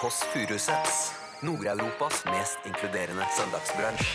Kåss Furuseths. Nord-Europas mest inkluderende søndagsbransj.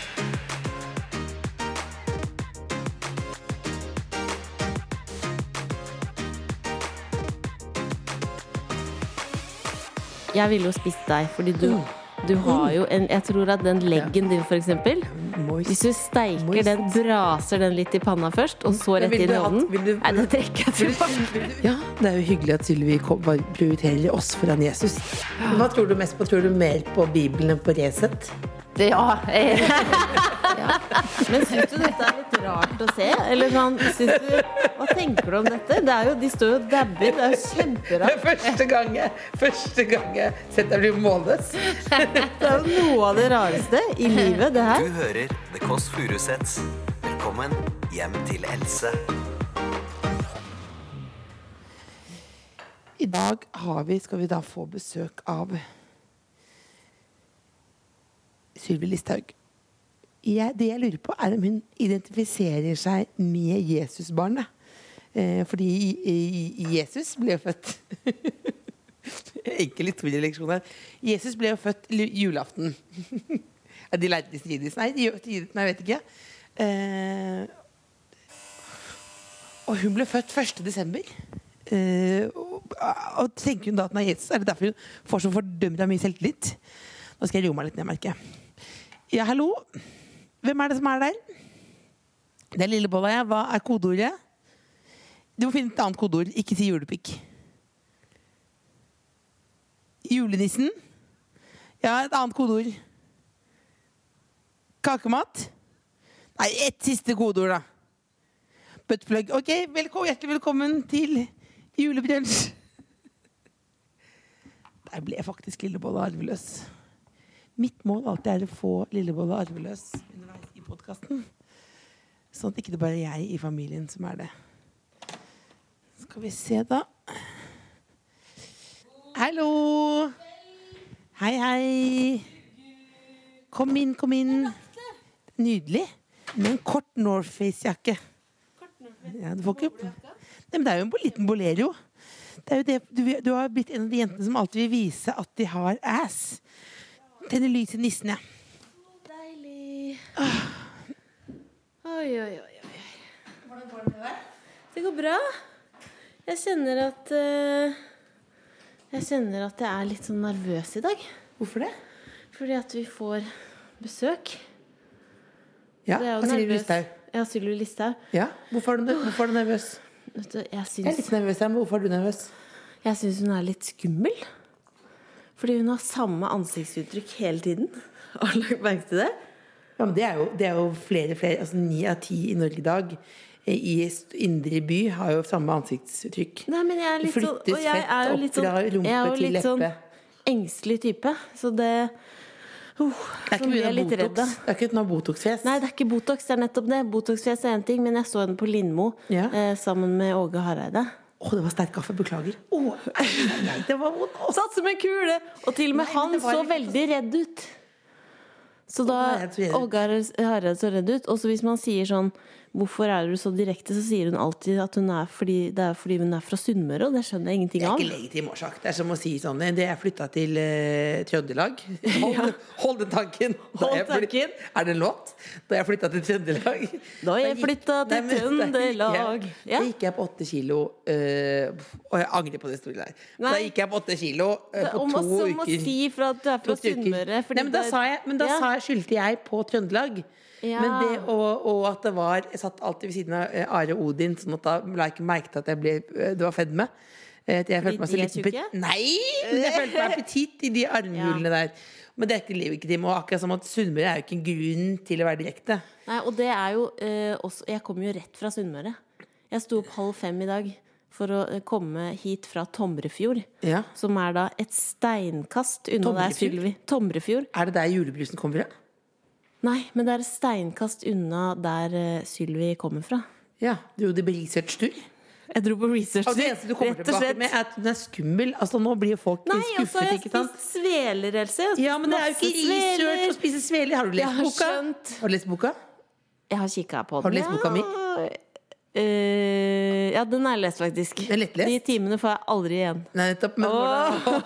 Jeg ville jo spist deg, fordi du, Mm. du har jo en Jeg tror at den leggen din, for eksempel Moist. Hvis du steiker Moist. den, braser den litt i panna først, og så Men rett vil inn du i ha- ovnen vil du- Nei, det trekker jeg tilbake. Ja, det er jo hyggelig at Sylvi kom- var- prioriterer oss foran Jesus. Men Hva tror du mest på? Tror du mer på Bibelen enn på Resett? Ja, eh, Men syns du dette er litt rart å se? Eller sånn, syns du Hva tenker du om dette? Det er jo, de står jo og dabber. Det er jo kjemperart. Første gang jeg, første gang jeg setter deg målløs. Det er jo noe av det rareste i livet, det her. Du hører The Kåss Furuseths. Velkommen hjem til Else. I dag har vi, skal vi da få besøk av Sylvi Listhaug. Jeg, det jeg lurer på, er om hun identifiserer seg med Jesusbarnet. Eh, fordi i, i, i Jesus ble jo født Enkel historieleksjon her. Jesus ble jo født lu- julaften. Ja, de lærte de strides. Nei, de, de, nei, jeg vet ikke. Eh, og hun ble født 1. desember. Eh, og, og tenker hun da at hun er Jesus? Er det derfor hun får så fordømt av mye selvtillit? Nå skal jeg roe meg litt ned, merker jeg. Ja, hallo. Hvem er det som er der? Det er Lillebolla, jeg. Hva er kodeordet? Du må finne et annet kodeord. Ikke si julepikk. Julenissen? Ja, et annet kodeord. Kakemat? Nei, ett siste kodeord, da. Buttplug. Ok, velkommen, hjertelig velkommen til julebrunsj. Der ble faktisk Lillebolla arveløs. Mitt mål alltid er å få Lillebolla arveløs underveis i podkasten. Sånn at ikke det bare er jeg i familien som er det. Skal vi se, da. Hallo. Hei, hei. Kom inn, kom inn. Nydelig. Med en kort Northface-jakke. Ja, du får ikke... Nei, men det er jo en bo- liten bolero. Det er jo det, du, du har blitt en av de jentene som alltid vil vise at de har ass. Tenner lys i nissen, ja. Deilig. Ah. Oi, oi, oi. oi. Hvordan går det med deg? Det går bra. Jeg kjenner at eh, Jeg kjenner at jeg er litt sånn nervøs i dag. Hvorfor det? Fordi at vi får besøk. Ja, Det er jo hva sier nervøs. Listhaug? Ja, Sylvi Listhaug. Ja, hvorfor er, du, hvorfor er du nervøs? Vet du, Jeg Jeg er syns, litt nervøs her, men hvorfor er du nervøs? jeg syns hun er litt skummel. Fordi hun har samme ansiktsuttrykk hele tiden. Har du lagt merke til det? Ja, men det er jo, det er jo flere, flere, altså ni av ti i Norge i dag eh, i st- indre by har jo samme ansiktsuttrykk. Nei, men jeg er litt sånn, Flyttes og jeg fett er jo opp litt fra sånn, rumpe jeg er jo til litt sånn leppe. engstelig type. Så det uh, Det er Så ikke blir mye jeg litt redd, da. Botox. Det er ikke noe Botox-fjes. Nei, det er ikke Botox, det er nettopp det. Botox-fjes er én ting, men jeg så henne på Lindmo Ja. eh, sammen med Åge Hareide. Å, det var sterk kaffe. Beklager. Å, nei, det var vondt. Å, Satt som en kule! Og til og med Nei, men han det var så litt- veldig redd ut. Så da Åge Hareide så redd ut. Åge Hare- Hareide så redd ut. Og så hvis man sier sånn 'Hvorfor er du så direkte?' så sier hun alltid at hun er fordi, det er fordi hun er fra Sunnmøre, og det skjønner jeg ingenting Det er av. ikke legitim årsak. Det er som å si sånn Det jeg flytta til eh, Trøndelag. Hold, hold den tanken. Da Hold jeg flyt- tanken. Er det en låt? Da jeg flytta til Trøndelag Da jeg gikk- flytta til Nei, men da gikk jeg- Trøndelag. Ja. Da gikk jeg på åtte kilo eh, Og jeg angrer på det store der. Da Nei. gikk jeg på åtte kilo eh, Det er på om å- to som å uker. si fra at du er fra to uker. Sunnmøre. fordi Nei, men da det- sa jeg, men da Ja. sa jeg skyldte jeg på Trøndelag. Ja. Men det, og, og at det var Jeg satt alltid ved siden av eh, Are Odin, sånn at da la jeg ikke merke til at jeg ble, eh, det var fedme. Eh, at Jeg følte meg de så er liten pet- tjukke? Nei! Men jeg følte meg petit i de armhulene der. Men det er ikke legitim. Og akkurat som at Sunnmøre er jo ikke en grunn til å være direkte. Nei, og det er jo eh, også Jeg kommer jo rett fra Sunnmøre. Jeg sto opp halv fem i dag for å eh, komme hit fra Tomrefjord. Ja. Som er da et steinkast unna der Tomrefjord? Sylvi Tomrefjord? Er det der julebrusen kommer fra? Nei, men det er et steinkast unna der eh, Sylvi kommer fra. Ja. Du gjorde research-tur? Jeg dro på research. Og det eneste du kommer rett og tilbake slett. med, er at hun er skummel. Altså, nå blir jo folk Nei, og så skuffet, har jeg ikke sant? spist sveler, Else. Jeg har Ja, men det er jo spist ikke masse research å sveler. spise sveler. Har du lest Jeg har boka? skjønt. Har du lest boka? Jeg har kikka på den. Har du lest boka mi? Ja. Eh, ja, den er lest, faktisk. Den er lettlest? De timene får jeg aldri igjen. Nei, nettopp. Men, hvordan-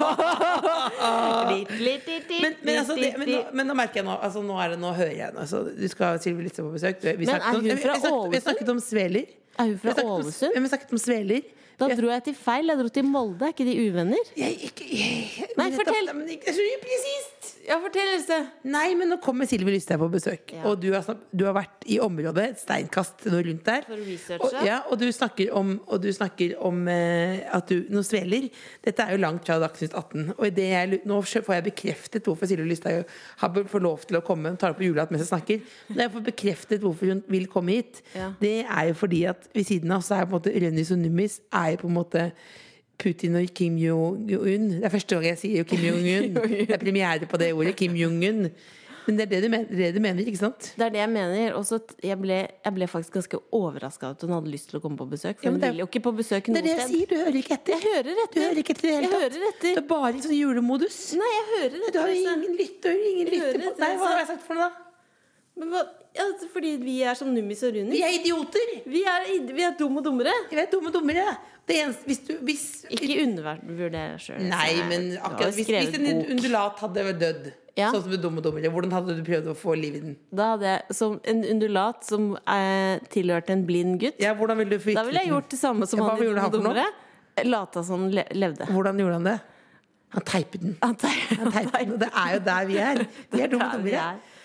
Litt, litt, litt, litt, Ah. men, men, altså, det, litt, men, litt. nå, men nå merker jeg nå, altså, nå, er det, nå hører jeg nå. Altså, du skal ha Sylvi Listhaug på besøk. Du, vi, Men er snakket om, hun vi, fra vi, snakket, vi Ålesund? snakket om sveler. Er hun Vi fra snakket om- Ålesund? ja, Vi snakket om sveler. Da Vi- dro jeg til feil. Jeg dro til Molde. Er ikke de uvenner? Jeg, ikke, jeg, Nei, nettopp, fortell. nei, Men, ikke- det er så upresist! Ja, fortell, Else. Nei, men nå kommer Silvi Lysthaug på besøk. Ja. Og du har, snak- du har vært i området, et steinkast noe rundt der. For å researche. og, ja, og du snakker om, og du snakker om eh, at du nå sveler. Dette er jo langt fra Dagsnytt 18. Og i det jeg, lu- nå skjø- får jeg bekreftet hvorfor Silvi Lysthaug har be- får lov til å komme. Hun tar opp julehatt mens jeg snakker. Når jeg får bekreftet hvorfor hun vil komme hit, Ja. det er jo fordi at ved siden av så er på en måte Rønni Sunumis er jo på en måte Putin og Kim Jong-un. Det er første gang jeg sier Kim Jong-un. Det er premiere på det ordet. Kim Jong-un. Men det er det du, mener, det du mener, ikke sant? Det er det jeg mener. Og så t- jeg, ble, jeg ble faktisk ganske overraska at hun hadde lyst til å komme på besøk. For Ja, men hun det er- ville jo ikke på besøk Det noe er det jeg sted. sier. Du hører ikke etter. Jeg hører Du etter. hører ikke etter i det hele Jeg tatt. hører etter. Du er bare i sånn julemodus. Nei, jeg hører Du etter. har jo Else. ingen lytter. Ingen Jeg hører lytter på. etter, Nei, hva har altså. jeg sagt for noe, da? Men hva, ja, fordi vi er som Nummis og Runis. Vi er idioter! Vi er, id- vi er dum og dummere. Vi er dumme dummere. Det eneste, hvis du, hvis, Ikke undervurder deg altså. sjøl. Nei, men akkurat hvis, hvis en undulat hadde dødd, Ja. sånn som en dumme dummere, hvordan hadde du prøvd å få liv i den? Da hadde jeg som en undulat som eh, tilhørte en blind gutt. Ja, hvordan ville du Da ville jeg gjort det samme som Ja, hva han i gjorde Dum han og for noe? Dummere. Lata som han le levde. Hvordan gjorde han det? Han teipet den. Han tei- Han teipet den. Og det er jo der vi er. Vi er dumme Der vi dummere. er.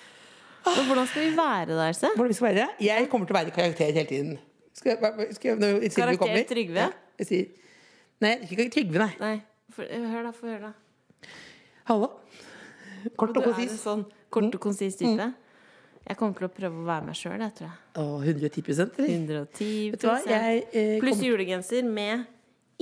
Men hvordan skal vi være da, Else? Hvordan vi skal være? Jeg kommer til å være karakter hele tiden. Skal jeg, skal jeg, når Silje Karakter kommer- Trygve? Ja, jeg sier, nei, ikke Trygve, nei. Nei, for, eh, hør da. Få høre, da. Hallo. Kort Du er og en konsis. Mm. sånn kort og konsis type. Jeg kommer til å prøve å være meg sjøl, jeg tror jeg. Å, 110 eller? 110 Mm. Vet du hva, jeg eh, Pluss kom- julegenser med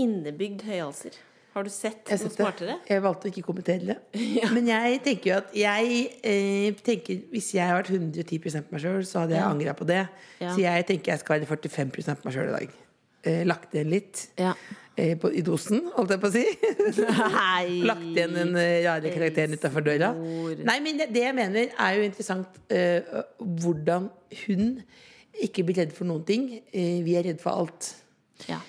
innebygd høyhalser. Har du sett jeg noe setter- smartere? Jeg valgte å ikke kommentere det. Men jeg tenker jo at jeg eh, tenker Hvis jeg hadde vært 110 på meg sjøl, så hadde jeg Ja. angra på det. Ja. Så jeg tenker jeg skal være 45 på meg sjøl i dag. Eh, lagt igjen litt. Ja. Eh, på, I dosen, holdt jeg på å si. Nei. Lagt igjen den eh, rare karakteren utafor døra. Elskor. Nei, men det, det jeg mener er jo interessant eh, hvordan hun ikke blir redd for noen ting. Eh, vi er redd for alt. Ja.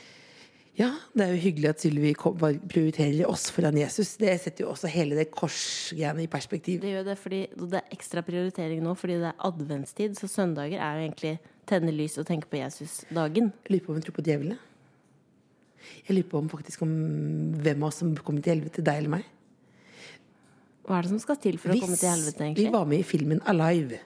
Ja, det er jo hyggelig at Sylvi kom- bare prioriterer oss foran Jesus. Det setter jo også hele det korsgreiene i perspektiv. Det gjør det fordi og det er ekstra prioritering nå fordi det er adventstid, så søndager er jo egentlig tenne lys og tenke på Jesus-dagen. Jeg lurer på om hun tror på djevelen. Jeg lurer på om faktisk om hvem av oss som kommer til helvete, deg eller meg. Hva er det som skal til for å komme til helvete, vi egentlig? var med i filmen Alive,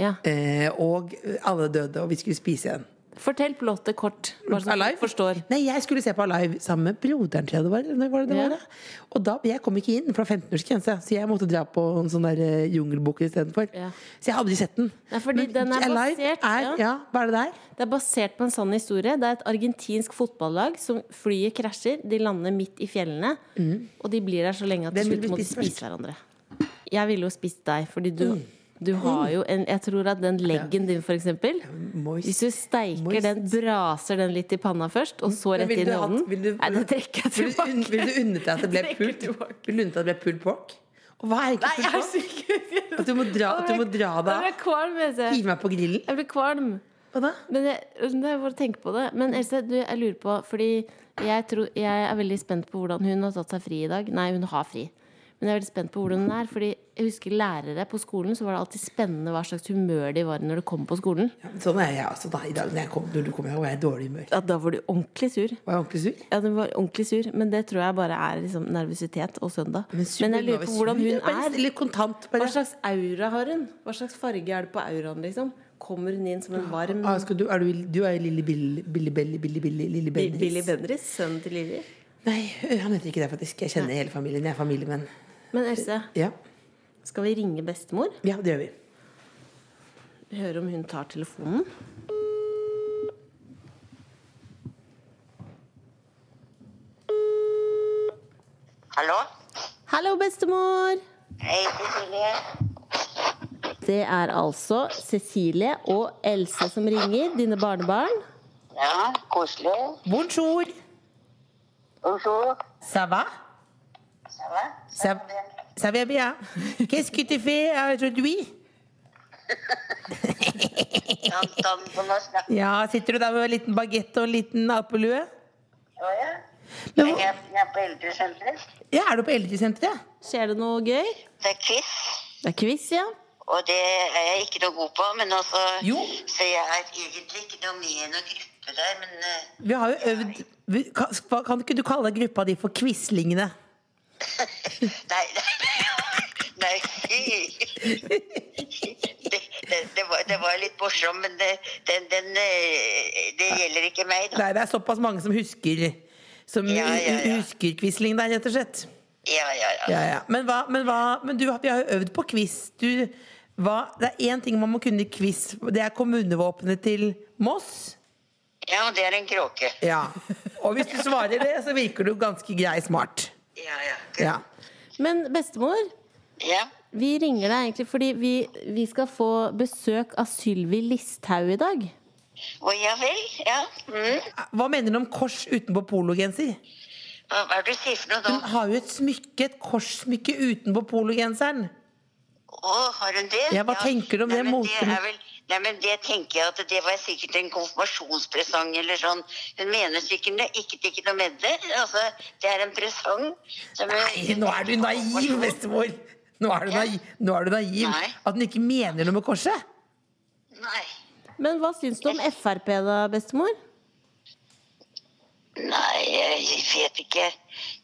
Ja. eh, og alle døde, og vi skulle spise en Fortell plottet kort, bare så folk forstår. Nei, jeg skulle se på Alive sammen med broderen til det var. Når var det det Ja. var, da? Og da, jeg kom ikke inn, for det var 15-årsgrense, så jeg måtte dra på en sånn der eh, jungelbok istedenfor. Ja. Så jeg hadde aldri sett den. Nei, fordi den er basert, er, ja. ja. hva er det der? Det er basert på en sann historie. Det er et argentinsk fotballag som flyet krasjer. De lander midt i fjellene, og de blir der så lenge at til Mm. Hvem ville slutt må de spist først? Mm. spise hverandre. Jeg ville jo spist deg, fordi du, du har jo en Jeg tror at den leggen din, for eksempel Moist. Hvis du steiker Moist. den, braser den litt i panna først, og så Men rett ville inn i du hatt- ovnen ville du- Nei, det trekker jeg Vil du, tilbake. unn- vil du unnet deg at det ble Jeg trekker pult? tilbake. Vil du unnet deg at det ble pulled pork? Og hva er Nei, egentlig jeg er pulled pork? syk. At du må dra, at du må dra deg Jeg ble kvalm. Else. Hive meg på grillen? Jeg ble kvalm. Hva da? Men jeg, det er bare å tenke på det. Men Else, du, jeg lurer på Fordi jeg, tror, jeg er veldig spent på hvordan hun har tatt seg fri i dag. Nei, hun har fri. Men jeg er veldig spent på hvordan hun er. Fordi jeg husker lærere på skolen, så var det alltid spennende hva slags humør de var i når de kom på skolen. Ja, men sånn er jeg også da, i dag. Når, jeg kom, når du kommer her, var jeg i dårlig humør. Ja, da var du ordentlig sur. Var jeg ordentlig sur? Ja, den var ordentlig sur, men det tror jeg bare er liksom nervøsitet og søndag. Men, sur, jeg lurer var på sur. hvordan hun Jeg bare- er. Litt kontant, Hva bare. slags aura har hun? Hva slags farge er det på auraen, liksom? Kommer hun inn som en varm Ah, skal du, er du, du er Lille Billy Billy Billy Billy Billy, Lille Bendriss. Billy Bendriss, sønnen til Lilly? Nei, øh, han heter ikke det, faktisk. Jeg kjenner hele familien. Jeg er familievenn. Men Else, Ja. skal vi ringe bestemor? ja, det gjør vi. Vi hører om hun tar telefonen. Hallo? Hallo, bestemor! Hei, Cecilie. Det er altså Cecilie og Else som ringer, dine barnebarn. Ja, koselig. Bonjour. Bonjour. Ça va? Ça va? Ça, ça va bien? Qu'est-ce que tu fais aujourd'hui? Tant Anton har snakket Ja, sitter du der med en liten bagett og en liten apelue? med ja. Men Jeg hvor, er- jeg er på eldresenteret. ja, er du på eldresenteret? Skjer det noe gøy? Det er quiz, Det er quiz, ja. og det er jeg ikke noe god på. Men altså, Jo. så jeg er egentlig ikke noe med i noen gruppe der, men eh, Vi har jo øvd vi- kan, hva- kan ikke du kalle gruppa di for Quislingene? Nei, nei, nei. Det, det, det, var, det var litt morsom, men det, den, den, eh, det gjelder ikke meg, da. Nei, det er såpass mange som husker Som Ja, ja, ja. husker Quisling der, rett og slett. Ja, ja, ja. Ja, ja. Men, hva, men, hva, men du, vi har jo øvd på quiz. Du, hva, det er én ting man må kunne i quiz. Det er kommunevåpenet til Moss. Ja, og det er en kråke. Ja. Og hvis du svarer det, så virker du ganske grei smart. Ja, ja. Ja. Men bestemor, ja. vi ringer deg egentlig fordi vi, vi skal få besøk av Sylvi Listhaug i dag. Å, ja vel, ja. Mm. Hva mener du om kors utenpå pologenser? Hva hva er det du sier for noe Hun nå? har jo et smykke, et korssmykke utenpå pologenseren. Å, har hun det? Ja, hva tenker du om Nei, det men moten? er vel- Nei, men det tenker jeg at det var sikkert en konfirmasjonspresang eller sånn. Hun mener sikkert det- ikke, ikke noe med det. Altså, det er en presang. som hun- Nei, nå er du naiv, bestemor! Nå er du Ja. naiv, nå er du naiv. Nei. At hun ikke mener noe med korset. Nei. Men hva syns du om Frp da, bestemor? Nei, jeg vet ikke.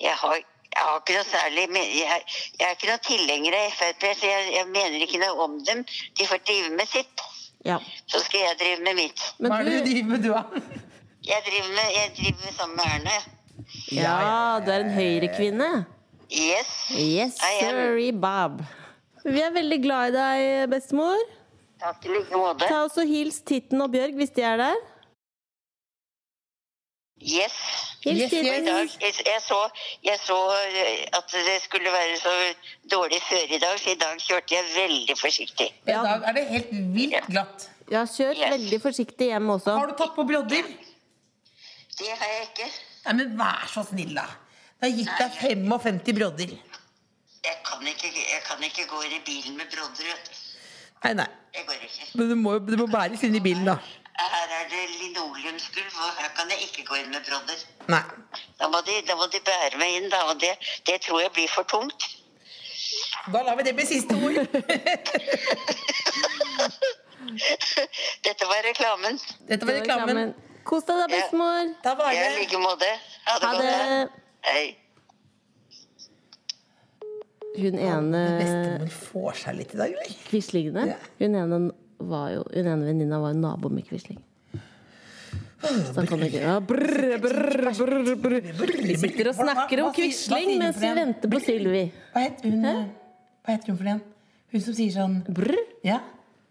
Jeg har, jeg har ikke noe særlig men- Jeg, jeg er ikke noe tilhenger av Frp, så jeg, jeg mener ikke noe om dem. De får drive med sitt, Ja. så skal jeg drive med mitt. Men Hva er det du du, driver med, du, da? Jeg driver, med, jeg driver med sammen med Erne. ja, du er en høyrekvinne. Yes. Yes, I am. sorry, Bob. Vi er veldig glad i deg, bestemor. Takk i like måte. Ta også Hils Titten og Bjørg hvis de er der. Yes. Hils Yes, I Titten. dag, jeg, jeg, så, jeg så eh, at det skulle være så dårlig før i dag, så i dag kjørte jeg veldig forsiktig. I dag er det helt vilt glatt. Ja, kjør Yes. veldig forsiktig hjem også. Har du tatt på brodder? Det har jeg ikke. Nei, men vær så snill, da. Det har gitt deg 55 brodder. Jeg kan ikke, jeg kan ikke gå inn i bilen med brodder, vet du. Nei, nei. Jeg går ikke. Men du må, du må bæres inn i bilen, da. Her er det linoleumsgulv, og her kan jeg ikke gå inn med brodder. Nei. Da må de, da må de bære meg inn, da, og det, det tror jeg blir for tungt. Da lar vi det bli siste ord. Dette var reklamen. Dette var reklamen. Kos deg da, bestemor. Da var Jeg er det i like måte. Ha det Ha det. godt. Hei. Hun ene Bestemor får seg litt i dag, eller? Quislingene. Ja. Hun ene var jo Hun ene venninna var jo nabo med Quisling. Så han kan ikke ja, brr, brr, brr, brr. Vi sitter og snakker om Hva- hva sier- hva sier Quisling hun mens for vi en? venter på Sylvi. Hva het hun, eh, hva het hun for den? Hun som sier sånn Brr? Ja.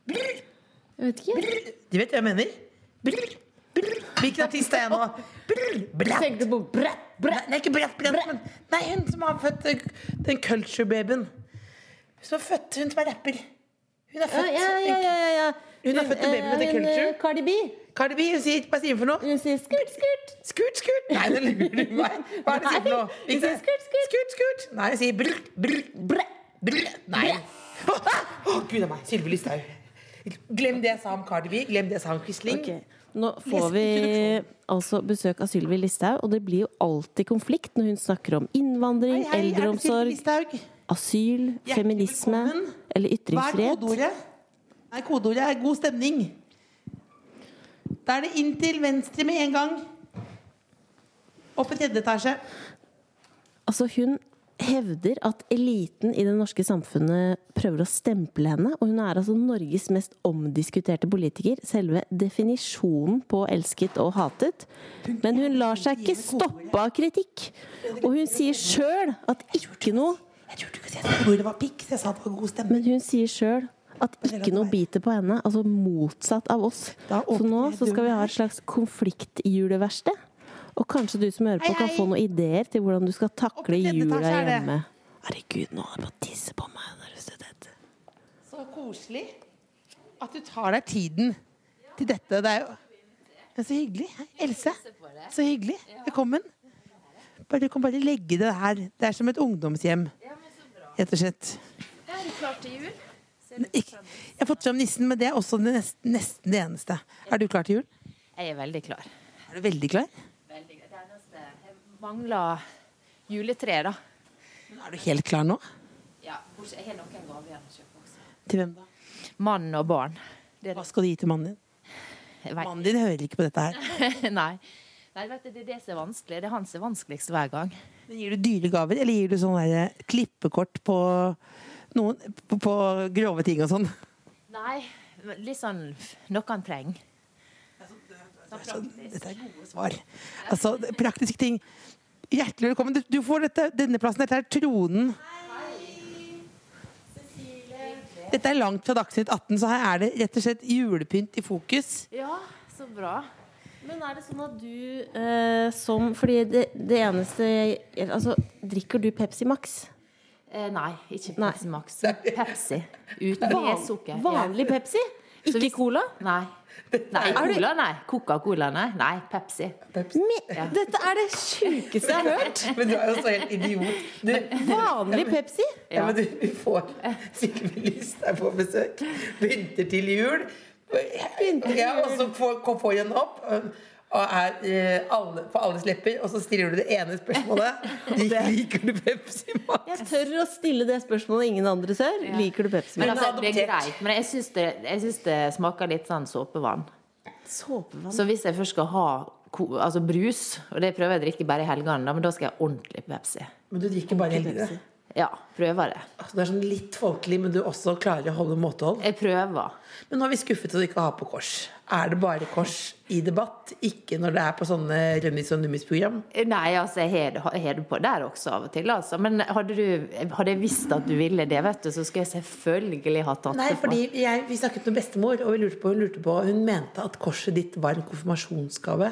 Brr, Jeg vet ikke. brr. Du vet hva jeg mener? Brr, brr. Hvilken artist er jeg nå? Brr, bratt. Tenkte på brett, brett. Nei, det er ikke bratt, bratt, men Nei, hun som har født eh, den culture-babyen. Hun som er født, hun som er rapper. Hun Ja, er født. ja, ja, ja, ja, ja. Hun har født en baby med The eh, hun, Culture. eh, Cardi B. Cardi B, hun sier Hva sier hun for noe? Hun sier skurt, skurt. Skurt, skurt. Nei, nå lurer du meg. Hva er det hun sier for noe? Nei, hun sier skurt, skurt. skurt, skurt. Nei, hun sier brr, brr, brr, brr. Nei. Å, ah! å, gud a meg. Sylvi Listhaug. Glem det jeg sa om Cardi B, glem det jeg sa om Quisling. Ok, Nå får Lest vi introduksjonen. altså besøk av Sylvi Listhaug, og det blir jo alltid konflikt når hun snakker om innvandring, Hei, hei, er det Sylvi eldreomsorg, Listhaug? asyl, feminisme velkommen. eller Hva er ytringsfrihet. kodeordet? Nei, kodeordet er god stemning. Da er det inn til venstre med en gang. Opp i tredje etasje. Altså, hun hevder at eliten i det norske samfunnet prøver å stemple henne, og hun er altså Norges mest omdiskuterte politiker. Selve definisjonen på elsket og hatet. Men hun lar seg ikke stoppe av kritikk. Og hun sier sjøl at ikke noe Jeg turte ikke å si at kodeordet var pikk, så jeg sa det var god stemning. Men hun sier sjøl at ikke noe biter på henne. Altså motsatt av oss. Da Så åpner nå jeg så skal vi ha et slags konfliktjuleverksted. Og kanskje du som hører på, Hei, kan hei. få noen ideer til hvordan du skal Opp takle i tredje jula etasje er det. hjemme. Herregud, nå holder jeg på å tisse på meg. når du sier dette. Så koselig at du tar deg tiden til dette. Det er jo Men Så hyggelig. Hei, Else, så hyggelig. Velkommen. Bare, du kan bare legge det her. Det er som et ungdomshjem, rett og slett. Er du klar til jul? Ikke, jeg har fått fram nissen, men det er også det nesten, nesten det eneste. Er du klar til jul? Jeg er veldig klar. Er du veldig klar? Veldig klar. Det eneste Jeg mangler juletre, da. Er du helt klar nå? Ja, bortsett- jeg har noen gaver igjen å kjøpe også. Til hvem da? Mann og barn. Det er Hva det. skal du gi til mannen din? Jeg vet. Mannen din hører ikke på dette her. Nei. Nei, vet du, det er det som er vanskelig. Det er han som er vanskeligst hver gang. Men gir du dyre gaver, eller gir du sånn der klippekort på noen på, på grove ting og sånn? Nei, men litt sånn f- noe han trenger. Sånn praktisk. Dette er gode svar. Altså, det- praktiske ting. Hjertelig velkommen. Du, du får dette, denne plassen. Dette er tronen. Dette er langt fra Dagsnytt 18, så her er det rett og slett julepynt i fokus. Ja, så bra. Men er det sånn at du eh, som Fordi det, det eneste Altså, drikker du Pepsi Max? Eh, nei, ikke Nei. Pepsi Max. Pepsi. Uten med sukker. Ja. Vanlig Pepsi? Så Ikke hvis- cola? Nei. Nei, cola, nei. Coca-Cola, nei. Nei, Pepsi. Me- Dette er det sjukeste jeg har hørt! Men du er jo så helt idiot. Vanlig Pepsi? Ja, men du, får Sylvi Listhaug på besøk. Pynter til jul. Ja, og så får, får hun opp. Og er eh, på alles lepper. Og så stiller du det ene spørsmålet. Liker du Pepsi Max? Jeg tør å stille det spørsmålet ingen andre tør. Liker du Pepsi Men Max? altså, det er adoptert. greit. Men jeg syns det, jeg syns det smaker litt sånn såpevann. altså, Såpevann? Så hvis jeg først skal ha ko- altså brus, og det prøver jeg å drikke bare i helgene, da, men da skal jeg ha ordentlig Pepsi. Men du drikker bare helgene. Ja, prøver det. Altså, du er sånn litt folkelig, men du også klarer å holde måtehold. Jeg prøver. Men nå er vi skuffet over ikke å ha på kors. Er det bare kors i debatt? Ikke når det er på sånne rømmis og nummis-program? Nei, altså, jeg har det- jeg har det på der også av og til, altså. Men hadde, du, hadde jeg visst at du ville det, vet du, så skulle jeg selvfølgelig ha tatt Nei, det på. fordi jeg, vi snakket med bestemor, og vi lurte på, hun lurte på Hun mente at korset ditt var en konfirmasjonsgave.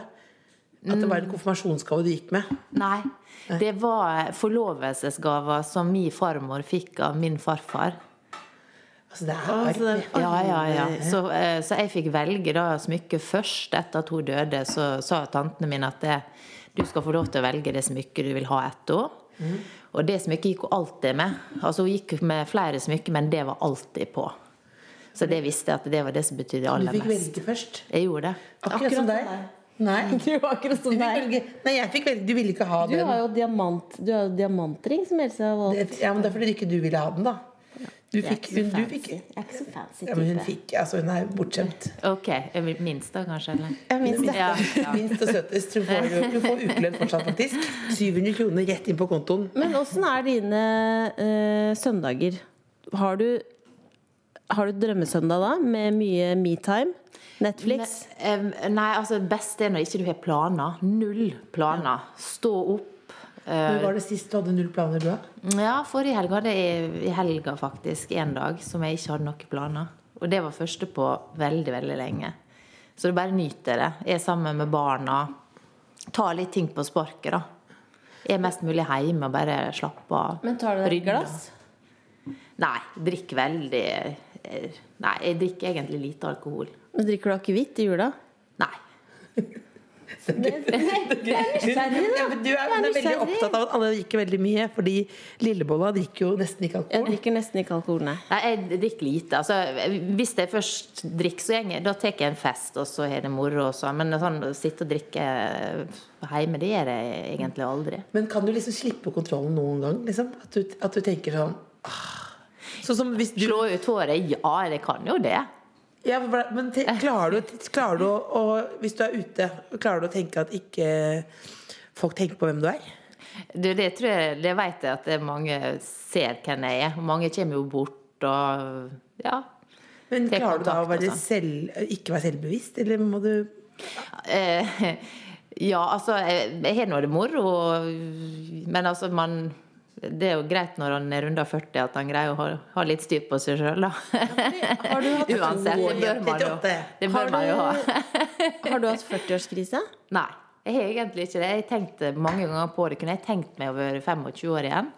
At det var Mm. en konfirmasjonsgave du gikk med. Nei. Det var forlovelsesgaver som min farmor fikk av min farfar. Altså, det er arv. det- Ja, ja, ja. Så, eh, så jeg fikk velge da smykket først etter at hun døde. Så sa tantene mine at det, du skal få lov til å velge det smykket du vil ha etter henne. Mm. Og det smykket gikk hun alltid med. Altså Hun gikk med flere smykker, men det var alltid på. Så det visste jeg at det var det som betydde Du aller fikk mest. velge først. Jeg gjorde det. Akkurat, som deg. Nei. Du akkurat som fikk deg. velge. Nei, jeg fikk velge. Du ville ikke ha Du den. har jo diamant, du har jo diamantring, som Else har valgt. Det- Ja, men det er fordi ikke du ville ha den, da. Du Jeg er fikk, ikke hun, så du fancy. fikk, Jeg er ikke så fancy ja, men hun type. fikk altså, Hun er bortskjemt. Ok. jeg vil- Minst da, kanskje? Eller? Jeg minst det. Ja, ja. Minst og søtest. Hun får, jo- hun får ukelønn fortsatt, faktisk. 700 kroner rett inn på kontoen. Men åssen er dine eh, søndager? Har du, har du drømmesøndag da, med mye metime? Netflix? Em, Nei, altså det beste er når ikke du har planer. Null planer. Stå opp. eh, Når var det sist du hadde null planer, du, da? Ja, forrige helg hadde jeg i helga faktisk en dag som jeg ikke hadde noen planer. Og det var første på veldig, veldig lenge. Så du bare nyter det. Er sammen med barna. Ta litt ting på sparket, da. Er mest mulig hjemme og bare slappe av. Men tar du deg et Rydde. glass? Nei. Drikker veldig eh, Nei, jeg drikker egentlig lite alkohol. Men drikker du akevitt i jula? Nei. Ja, men du er, hun er veldig nysgjerrig. opptatt av at alle drikker veldig mye, fordi lillebolla drikker jo nesten ikke Jeg alkohol. drikker nesten ikke alkohol, nei. Nei, jeg drikker lite. Altså, hvis jeg først drikker, så går jeg, da tar jeg en fest, og så har det moro. og sånn. Men sånn, å sitte og drikke eh, hjemme, det gjør jeg egentlig aldri. Men kan du liksom slippe kontrollen noen gang? Liksom? At, du, at du tenker sånn ah. Sånn som hvis du Slå ut håret? Ja, jeg kan jo det. Ja, men hva- men te, klarer du, klarer du å, å Hvis du er ute, klarer du å tenke at ikke folk tenker på hvem du er? Du, det tror jeg, det vet jeg at det er mange ser hvem jeg er. Mange kommer jo bort og ja. Men Te klarer du da å kontakt og være sånn. selv, ikke være selvbevisst, eller må du Eh, ja, altså, jeg jeg har nå det moro, og- men altså, man det er jo greit når han er runda 40 at han greier å ha, ha litt styr på seg sjøl, da. Har du hatt, Uansett, det bør man jo, 38. det Har bør man jo ha. har du hatt 40-årskrise? Nei, jeg har egentlig ikke det. Jeg tenkte mange ganger på det. Kunne jeg tenkt meg å være 25 år igjen?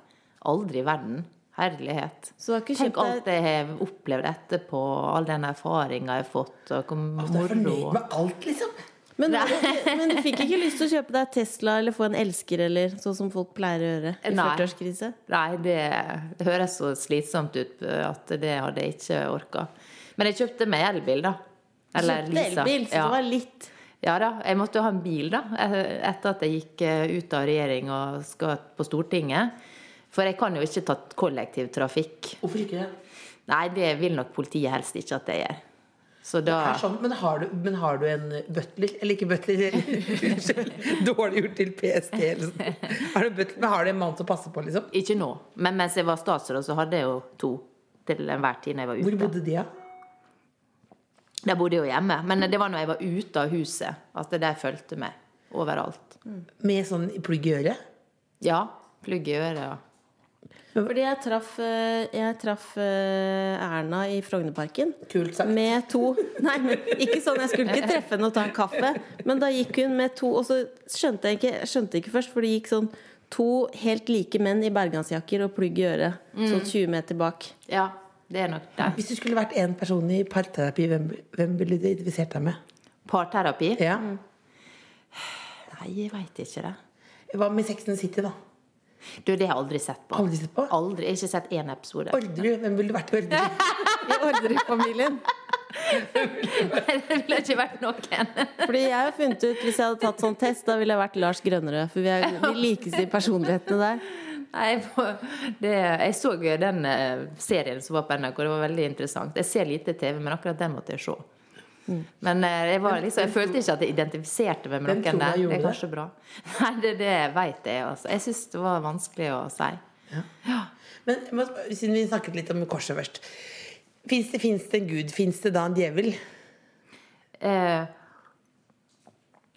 Aldri i verden. Herlighet. Så du har ikke Tenk kjøpt alt jeg har opplevd etterpå, all den erfaringa jeg har fått. Og hvor Du er fornøyd moro. med alt, liksom? Men, men du fikk ikke lyst til å kjøpe deg Tesla eller få en elsker, eller sånn som folk pleier å gjøre i Nei. 40-årskrise? Nei, det høres så slitsomt ut at det hadde jeg ikke orka. Men jeg kjøpte meg elbil, da. Eller Kjøpte leasa. elbil, så det var litt Ja da. Jeg måtte jo ha en bil, da. Etter at jeg gikk eh, ut av regjering og skal på Stortinget. For jeg kan jo ikke ta kollektivtrafikk. Hvorfor ikke det? Nei, det vil nok politiet helst ikke at jeg gjør. Så da Er sånn, men, har du, men har du en butler? Eller ikke butler, unnskyld. Dårlig gjort til PST. Eller sånn. har du en butler, men har du en mann som passer på, liksom? Ikke nå. Men mens jeg var statsråd, så hadde jeg jo to til enhver tid når jeg var Hvor ute. bodde de, da? Der bodde jeg jo hjemme. Men det var når jeg var ute av huset, at de fulgte meg overalt. Med sånn plugg i øret? Ja. Plugg i øret. ja. Fordi jeg traff, eh, jeg traff eh, Erna i Frognerparken. Kult sagt. Med to Nei, men ikke sånn. Jeg skulle ikke treffe henne og ta en kaffe. Men da gikk hun med to Og så skjønte jeg ikke, jeg skjønte ikke først, for det gikk sånn to helt like menn i bergansjakker og plugg i øret. Sånn 20 meter bak. Ja, det er nok det. Hvis du skulle vært én person i parterapi, hvem, hvem ville du identifisert deg med? Parterapi? Ja. Nei, jeg veit ikke det. Hva med Sex and the City, da? Du, det har jeg aldri sett på. Aldri sett på? Aldri. Jeg har ikke sett én episode. Orderud. Hvem ville du vært i Orderud? I Orderud-familien. det ville ikke vært noen. Fordi jeg har funnet ut, Hvis jeg hadde tatt sånn test, da ville jeg vært Lars Grønnerød. For vi er de likeste i personlighetene der. Nei, jeg må- det, jeg så jo den eh, serien som var på NRK, det var veldig interessant. Jeg ser lite TV, men akkurat den måtte jeg se. Men eh, jeg, var liksom, jeg følte ikke at jeg identifiserte meg med Hvem tror noen du der. gjorde Det er det? kanskje bra. Nei, det, det vet jeg, altså. Jeg syns det var vanskelig å si. Men jeg må sp- siden vi snakket litt om korset først. Fins det, finnes det en gud? Fins det da en djevel? Eh,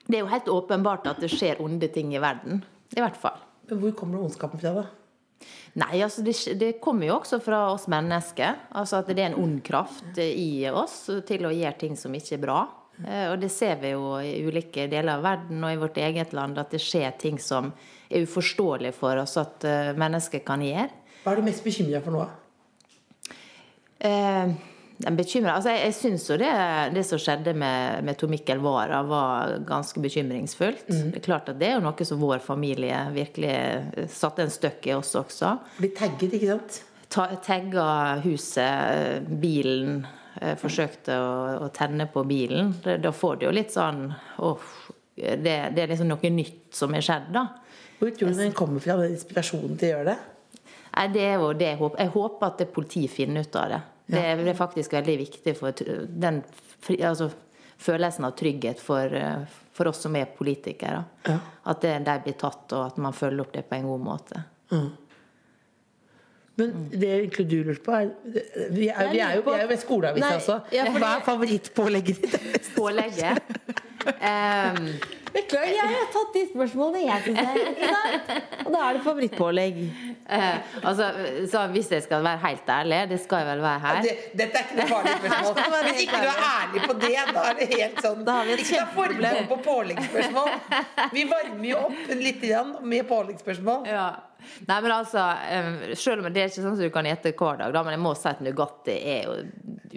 det er jo helt åpenbart at det skjer onde ting i verden. I hvert fall. Men hvor kommer ondskapen fra, da? Nei, altså det, skj- det kommer jo også fra oss mennesker. Altså at det er en ond kraft eh, i oss til å gjøre ting som ikke er bra. Eh, Og det ser vi jo i ulike deler av verden og i vårt eget land, at det skjer ting som er uforståelige for oss at eh, mennesker kan gjøre. Hva er du mest bekymra for nå? Eh, den bekymrer Altså, jeg, jeg syns jo det, det som skjedde med, med Tor Mikkel Wara, var ganske bekymringsfullt. Det er klart at det er jo noe som vår familie virkelig eh, satte en støkk i oss også. Bli tagget, ikke sant? Ta, tagga huset, eh, bilen. eh, Forsøkte å, å tenne på bilen. Da- Da får du jo litt sånn Uff. Det, det er liksom noe nytt som er skjedd, da. Hvor tror du den kommer fra, den inspirasjonen til å gjøre det? Nei, det er jo det jeg håper. Jeg håper at det politiet finner ut av det. Det er, det er faktisk veldig viktig for tr- den fri, altså, følelsen av trygghet for, eh, for oss som er politikere. At det, de blir tatt, og at man følger opp det på en god måte. Men Mm. det egentlig du lurte på, er Vi er, vi er, jo, vi er jo ved skoleavisa Nei, også. ja, fordi- Hva er favorittpålegget ditt? Pålegget Em, Beklager, jeg har tatt de spørsmålene jeg syns er interessant. Og da er det favorittpålegg. eh, altså, så hvis jeg skal være helt ærlig, det skal jeg vel være her Det, dette er ikke noe farlig spørsmål. Hvis ikke du er ærlig på det, da er det helt sånn Da har vi et Ikke ta forbehold på påleggsspørsmål. Vi varmer jo opp litt grann med påleggsspørsmål. Ja. Nei, men altså, eh, selv om det er ikke sånn som du kan gjette hver dag, da, men jeg må si at Nugatti er jo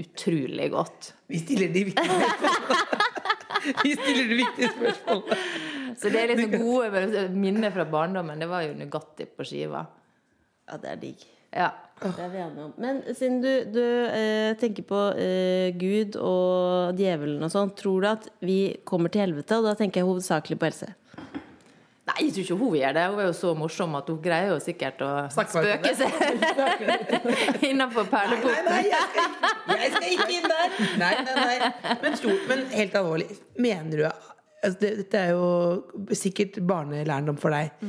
utrolig godt. Vi stiller de viktige spørsmålene. Vi stiller de viktige spørsmålene. Så det er liksom gode minner fra barndommen. Det var jo Nugatti på skiva. Ja, det er digg. Ja. Det er vi enige om. Men siden du, du eh, tenker på eh, Gud og djevelen og sånn, tror du at vi kommer til helvete? Og da tenker jeg hovedsakelig på Else. Nei, jeg tror ikke hun gjør det. Hun er jo så morsom at hun greier jo sikkert å Snakk bare om spøke seg Nei, innenfor nei, perleporten. jeg skal, ikke- jeg skal ikke inn der! Nei, nei, nei. Men, tror, men helt alvorlig, mener du altså det, Dette er jo sikkert barnelærdom for deg.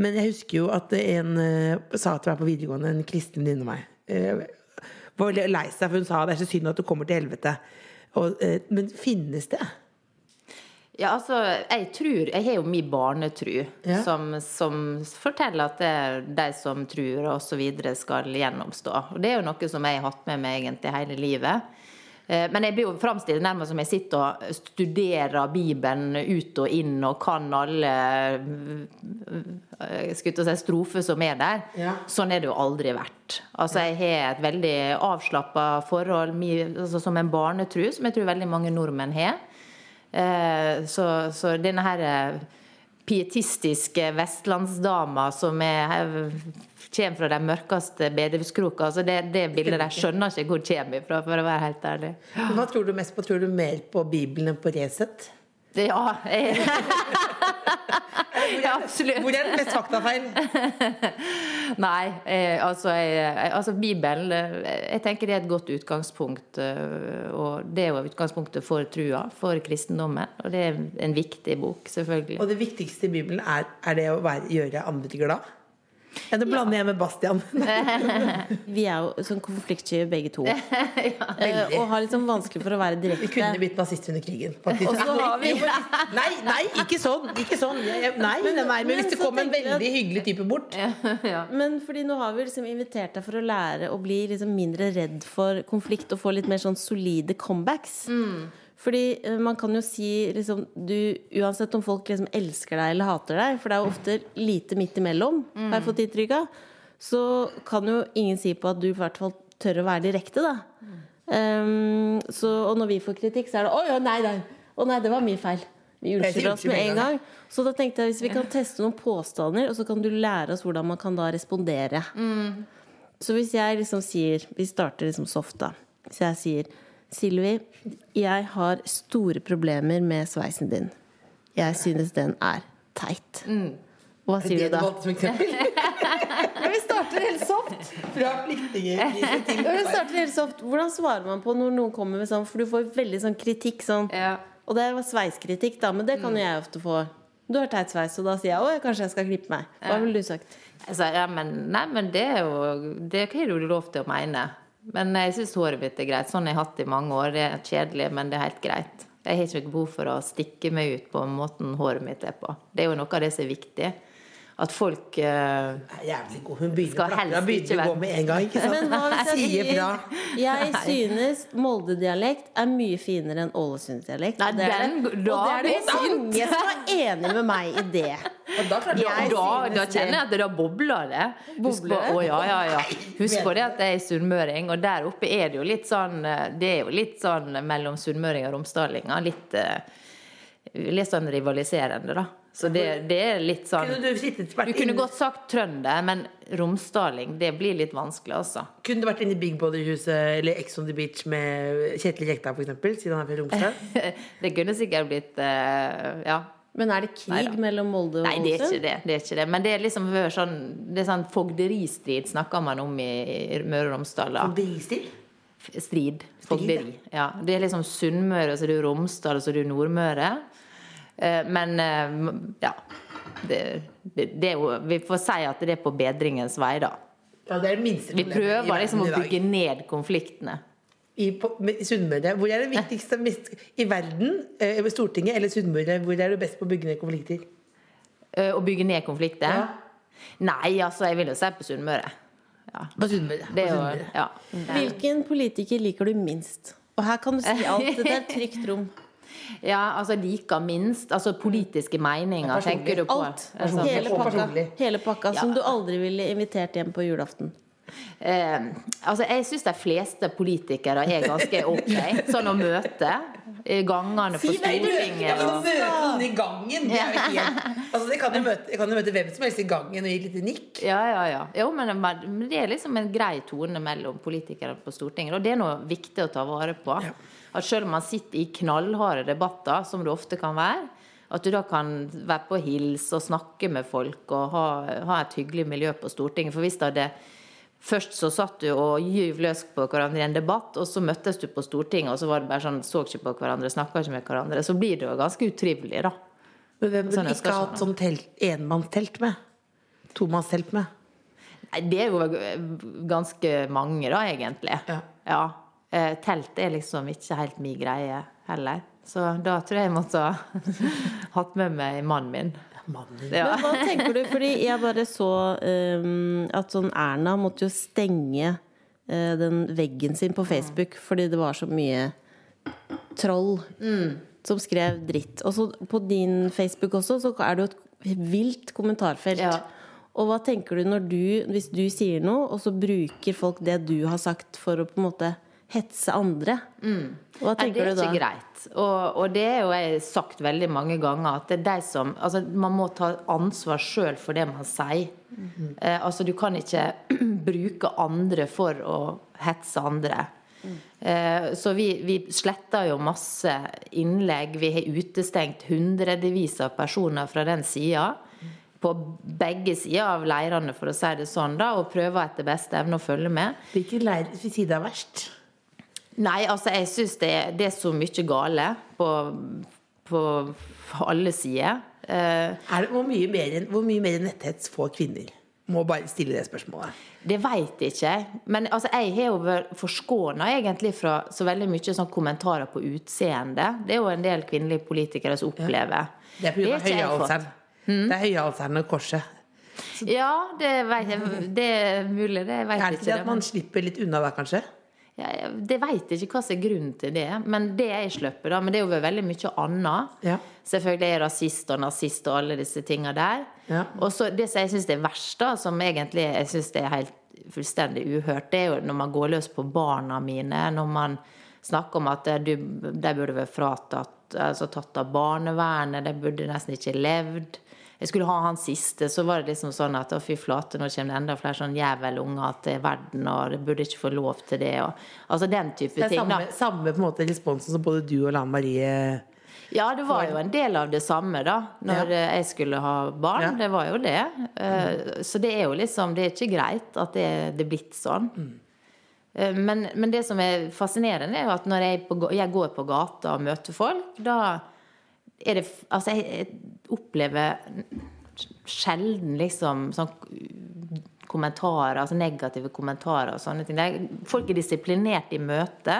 Men jeg husker jo at en eh, sa til meg på videregående, en kristen venninne av meg eh, Var veldig lei seg, for hun sa det er så synd at du kommer til helvete. Og, eh, men finnes det? Ja, altså, jeg tror Jeg har jo min barnetru Ja. som, som forteller at det er de som tror og så videre skal gjennomstå. Og det er jo noe som jeg har hatt med meg egentlig hele livet. Eh, Men jeg blir jo framstilt nærmest som jeg sitter og studerer Bibelen ut og inn og kan alle eh, skulle jeg til å si, strofer som er der. Ja. Sånn er det jo aldri vært. Altså, jeg har et veldig avslappa forhold mi- altså, som en barnetru, som jeg tror veldig mange nordmenn har. Eh, så, så denne her eh, pietistiske vestlandsdama som er, eh, kommer fra de mørkeste bedehuskrokene, altså det, det bildet der skjønner ikke hvor det kommer ifra, for å være helt ærlig. Hva tror du mest på? Tror du mer på Bibelen enn på Resett? Det, ja, jeg, ja, absolutt. Hvor er det mest faktafeil? Nei, eh, altså, jeg, jeg- altså Bibelen eh, Jeg tenker det er et godt utgangspunkt. eh, Og det er jo utgangspunktet for trua, for kristendommen. Og det er en viktig bok, selvfølgelig. Og det viktigste i Bibelen er, er det å være, gjøre andre glad? Ja, det blander jeg med Bastian. Vi er jo sånn konfliktsky begge to. Eh, veldig. og har litt sånn vanskelig for å være Vi direkte. kunne blitt nazist under krigen. faktisk. Og så har vi- Nei, nei, ikke sånn! Ikke sånn. Jeg, jeg, nei, nei, nei, men hvis det kom en veldig hyggelig type bort Men fordi nå har vi liksom invitert deg for å lære å bli liksom mindre redd for konflikt og få litt mer sånn solide comebacks. Fordi eh, man kan jo si liksom, du, Uansett om folk liksom elsker deg eller hater deg, for det er jo ofte lite midt imellom, har jeg fått inntrykk av, så kan jo ingen si på at du i hvert fall tør å være direkte, da. Ehm, så, og når vi får kritikk, så er det 'Å ja, nei, nei. Å, nei, det var min feil'. Vi unnskylder oss med en gang. Så da tenkte jeg hvis vi kan teste noen påstander, og så kan du lære oss hvordan man kan da respondere. Mm. Så hvis jeg liksom sier Vi starter liksom soft, da. Hvis jeg sier Silvi, jeg har store problemer med sveisen din. Jeg synes den er teit. Hva Mm. Det sier du du da? valgte som eksempel. Vi starter helt soft. Fra flyktningkrise til Ja, men vi starter helt soft. Hvordan svarer man på når noen kommer med sånn For du får veldig sånn kritikk sånn Ja. Og det var sveiskritikk, da, men det Mm. kan jo jeg ofte få. Du har teit sveis, og da sier jeg å, kanskje jeg skal klippe meg. Hva ville du sagt? Jeg sa, ja, men, nei, men det er jo Det har du lov til å mene. Men jeg syns håret mitt er greit. Sånn har jeg hatt det i mange år. Det er kjedelig, men det er helt greit. Jeg har ikke noe behov for å stikke meg ut på måten håret mitt er på. Det er jo noe av det som er viktig. At folk eh, Nei, Jævlig god. Hun begynner, Skal å plakke, helst da ikke begynner å være- gå med en gang. Ikke sant? Men hva hvis jeg Sier fra. sier Jeg synes Molde-dialekt er mye finere enn Ålesund-dialekt. Nei, og det er den- det- da og det er det blir mange som er enig med meg i det. Ja, Jeg da, synes da det. kjenner jeg at det da bobler det. Husk på, Bobler det? å, ja, ja, ja. Husk på det at jeg er sunnmøring, og der oppe er det jo litt sånn eh, Det er jo litt sånn mellom sunnmøring og romsdalinger. Litt, eh, litt sånn rivaliserende, da. Så det, det er litt sånn Kunne du sittet vært Du kunne inne- godt sagt trønder, men romsdaling, det blir litt vanskelig, altså. Kunne du vært inne i Big Body-huset eller Ex on the Beach med Kjetil Rekdal, for eksempel, siden han er fra Romsdal? Det kunne sikkert blitt eh, Ja. Men er det krig Neida. mellom Molde og Nei, det er ikke Ålesund? det. det, er ikke det. Men det er liksom vært sånn, det er sånn fogderistrid snakker man om i i Møre og Romsdal. da. Bristil? Strid. Fogderi. Ja. Det er liksom Sunnmøre, så er det Romsdal, og så er det Nordmøre. Eh, Men eh, ja. Det, det, det er jo, vi får si at det er på bedringens vei, da. Ja, det er det minste Vi problemet i prøver liksom å verden i dag. bygge ned konfliktene. I, på, med- i Sunnmøre. Hvor er det viktigste mest, i verden? Eh, Stortinget eller Sunnmøre? Hvor er du best på å bygge ned konflikter? Eh, Å bygge ned konflikter. Nei, altså, jeg vil jo si på Sunnmøre. Ja. På Sunnmøre. Det er jo ja. Hvilken politiker liker du minst? Og her kan du si alt. Det er et trygt rom. ja, altså like minst. Altså politiske meninger, tenker du på. Alt. Altså, Hele Og pakka, personlig. hele pakka som Ja. du aldri ville invitert hjem på julaften. Eh, altså, jeg syns de fleste politikere er ganske ok sånn å møte i gangene på Stortinget. Altså, Og... møte noen i gangen! Det er jo helt altså, jeg, kan jo møte, jeg kan jo møte hvem som helst i gangen og gi et lite nikk. Ja, ja, ja. Jo, men men det er liksom en grei tone mellom politikere på Stortinget. Og det er noe viktig å ta vare på. At selv om man sitter i knallharde debatter, som det ofte kan være, at du da kan være på hils og snakke med folk og ha, ha et hyggelig miljø på Stortinget. For hvis det hadde Først så satt du og gyv løs på hverandre i en debatt, og så møttes du på Stortinget, og så var det bare sånn, så ikke på hverandre, snakka ikke med hverandre. Så blir det jo ganske utrivelig, da. Men hvem Sånn, vil ikke jeg skal ha et sånn telt, enmannstelt med? Tomannstelt med? Nei, det er jo ganske mange, da, egentlig. Ja. Eh, Telt er liksom ikke helt min greie heller. Så da tror jeg jeg måtte ha hatt med meg mannen min. Mannen. Ja. Men hva tenker du? Fordi jeg bare så ehm, at sånn Erna måtte jo stenge eh, den veggen sin på Facebook fordi det var så mye troll som skrev dritt. Og så på din Facebook også, så er det jo et vilt kommentarfelt. Ja. Og hva tenker du når du, hvis du sier noe, og så bruker folk det du har sagt for å på en måte hetse andre. Hva Mm. Nei, det tenker er du da? ikke greit. Og, og det er jo jeg sagt veldig mange ganger at det er de som Altså, man må ta ansvar sjøl for det man sier. Mhm. eh, altså, du kan ikke bruke andre for å hetse andre. Mm. Eh, så vi, vi sletter jo masse innlegg. Vi har utestengt hundrevis av personer fra den sida. Mm. På begge sider av leirene, for å si det sånn, da, og prøver etter beste evne å følge med. Hvilken leir side er verst? Nei, altså jeg syns det, det er så mye gale på, på alle sider. Eh, Er det, hvor, mye mer, enn- hvor mye mer netthets får kvinner? Må bare stille det spørsmålet. det veit ikke jeg. Men altså, jeg har jo vært forskåna egentlig fra så veldig mye sånn kommentarer på utseende. Det er jo en del kvinnelige politikere som opplever. Det er Det pga. har ikke jeg Mm. fått. høyhalseren. Det er høyhalseren og korset. Ja, det, vet jeg, det er mulig, det veit Er jeg det ikke. ikke det det, at man slipper litt unna da, kanskje? Ja, jeg- det vet jeg ikke hva som er grunnen til det. Men det jeg slipper, da. Men det er jo veldig mye annet. Ja. Selvfølgelig er jeg rasist og nazist og alle disse tinga der. Ja. Og så det som jeg syns er verst, da, som egentlig jeg synes det er helt fullstendig uhørt, det er jo når man går løs på barna mine. Når man snakker om at eh, du, de burde vært fratatt, altså tatt av barnevernet, de burde nesten ikke levd. Jeg skulle ha han siste, så var det liksom sånn at å fy flate, nå kommer det enda flere sånn jævelunger til verden, og de burde ikke få lov til det, og altså den type Det er ting. da. samme, samme på en måte responsen som både du og Lan Marie Ja, det var jo en del av det samme da Når eh, jeg skulle ha barn. Ja. Det var jo det. Eh, Så det er jo liksom Det er ikke greit at det det er blitt sånn. Eh, Men, men det som er fascinerende, er jo at når jeg, på, ga- jeg går på gata og møter folk, da er det f- Altså, jeg, jeg opplever sjelden liksom sånn kommentarer, altså negative kommentarer og sånne ting. Det er, folk er disiplinert i møte,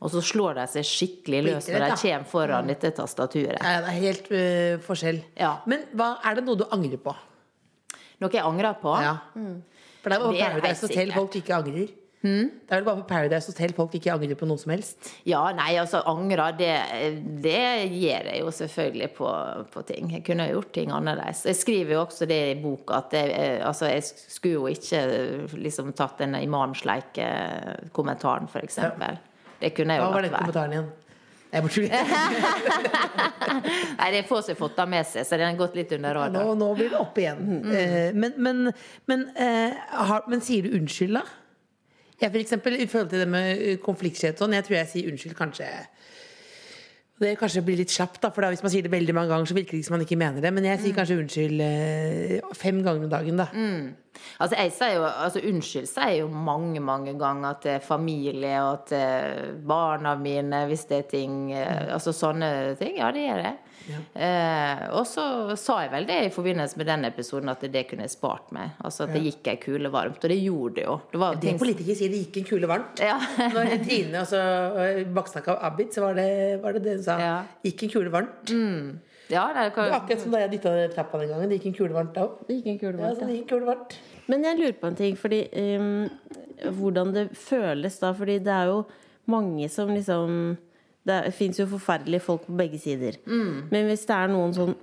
og så slår de seg skikkelig løs når de internett, da. kommer foran dette tastaturet. Mm. Ja, det er helt øh, forskjell. Ja. Men hva, er det noe du angrer på? Noe jeg angrer på. Ja. For Mm. det er Mm. jo Det er helt Paradise Hotel sikkert. folk ikke angrer. Det er vel bare på Paradise Hotel folk ikke angrer på noe som helst. Ja, nei, altså angrer, det, det gjør jeg jo selvfølgelig på, på ting. Jeg kunne gjort ting annerledes. Jeg skriver jo også det i boka at jeg, eh, altså, jeg skulle jo ikke eh, liksom tatt den imansleike-kommentaren, f.eks. eksempel Det kunne jeg Hva jo var latt den være. kommentaren igjen? Nei, bare tuller. Nei, det er få som har fått den med seg, så den har gått litt under nå, radaren. nå blir det opp igjen. Mm. Eh, men, men, men, eh, har, men sier du unnskyld, da? Jeg, for eksempel, I forhold til det med eh, konfliktskjedd og sånn, jeg tror jeg sier unnskyld kanskje Det kanskje blir litt slapt, da, for da, hvis man sier det veldig mange ganger, så virker det ikke som man ikke mener det. Men jeg Mm. sier kanskje unnskyld eh, fem ganger om dagen, da. Altså, jeg sier jo, altså, unnskyld sier jeg jo mange, mange ganger til familie og til barna mine hvis det er ting eh, Altså sånne ting. Ja, det gjør jeg. Eh, og så sa jeg vel det i forbindelse med den episoden at det kunne jeg spart meg. Altså at det gikk ei kule varmt. Og det gjorde det jo. Det var jo Det ting som- politikere sier det gikk en kule varmt. Ja. Når Trine også eh, baksnakka Abid, så var det var det, det hun sa. Ja. Gikk en kule varmt. ja, det er, Det var hva- akkurat som da jeg dytta ned trappa den gangen. Det gikk en kule varmt da òg. Det gikk en kule Ja, varmt, ja. så det gikk en kule varmt. Men jeg lurer på en ting, fordi ehm, hvordan det føles da, fordi det er jo mange som liksom Det fins jo forferdelige folk på begge sider. Men hvis det er noen sånn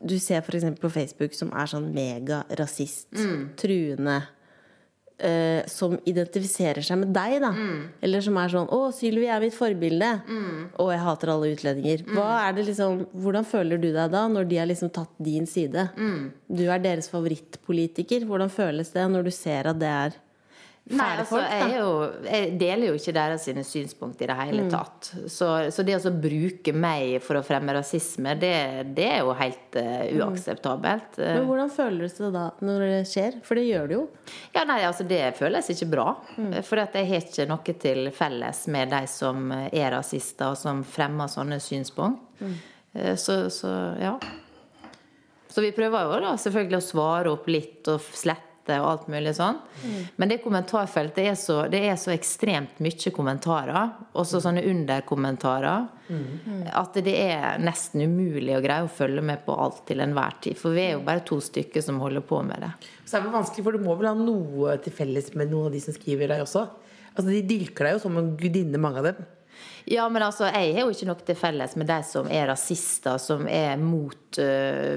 du ser f.eks. på Facebook som er sånn megarasist, truende eh, Som identifiserer seg med deg, da. Mm. Eller som er sånn 'Å, Sylvi er mitt forbilde'. Og jeg hater alle utlendinger. Mm. Hva er det liksom, hvordan føler du deg da, når de har liksom tatt din side? Mm. Du er deres favorittpolitiker. Hvordan føles det når du ser at det er Nei, fæle altså, folk? Da? Mm. jeg, er jo, jeg deler jo ikke deres sine synspunkt i det hele tatt. Så, så det å så bruke meg for å fremme rasisme, det, det er jo helt eh, uakseptabelt. Eh, Mm. Men hvordan føles det da når det skjer? For det gjør det jo. Ja, nei, altså Det føles ikke bra. For at jeg har ikke noe til felles med de som eh, er rasister, og som fremmer sånne synspunkt. Eh, Så, så ja. Så vi prøver jo da selvfølgelig å svare opp litt og slette og alt mulig sånn. Men det kommentarfeltet er så, det er så ekstremt mye kommentarer, også sånne underkommentarer, at det er nesten umulig å greie å følge med på alt til enhver tid. For vi er jo bare to stykker som holder på med det. Så er det vanskelig, for du må vel ha noe til felles med noen av de som skriver deg også? Altså, De dyrker deg jo som en gudinne, mange av dem. Ja, men altså, jeg har jo ikke noe til felles med de som er rasister, som er mot eh,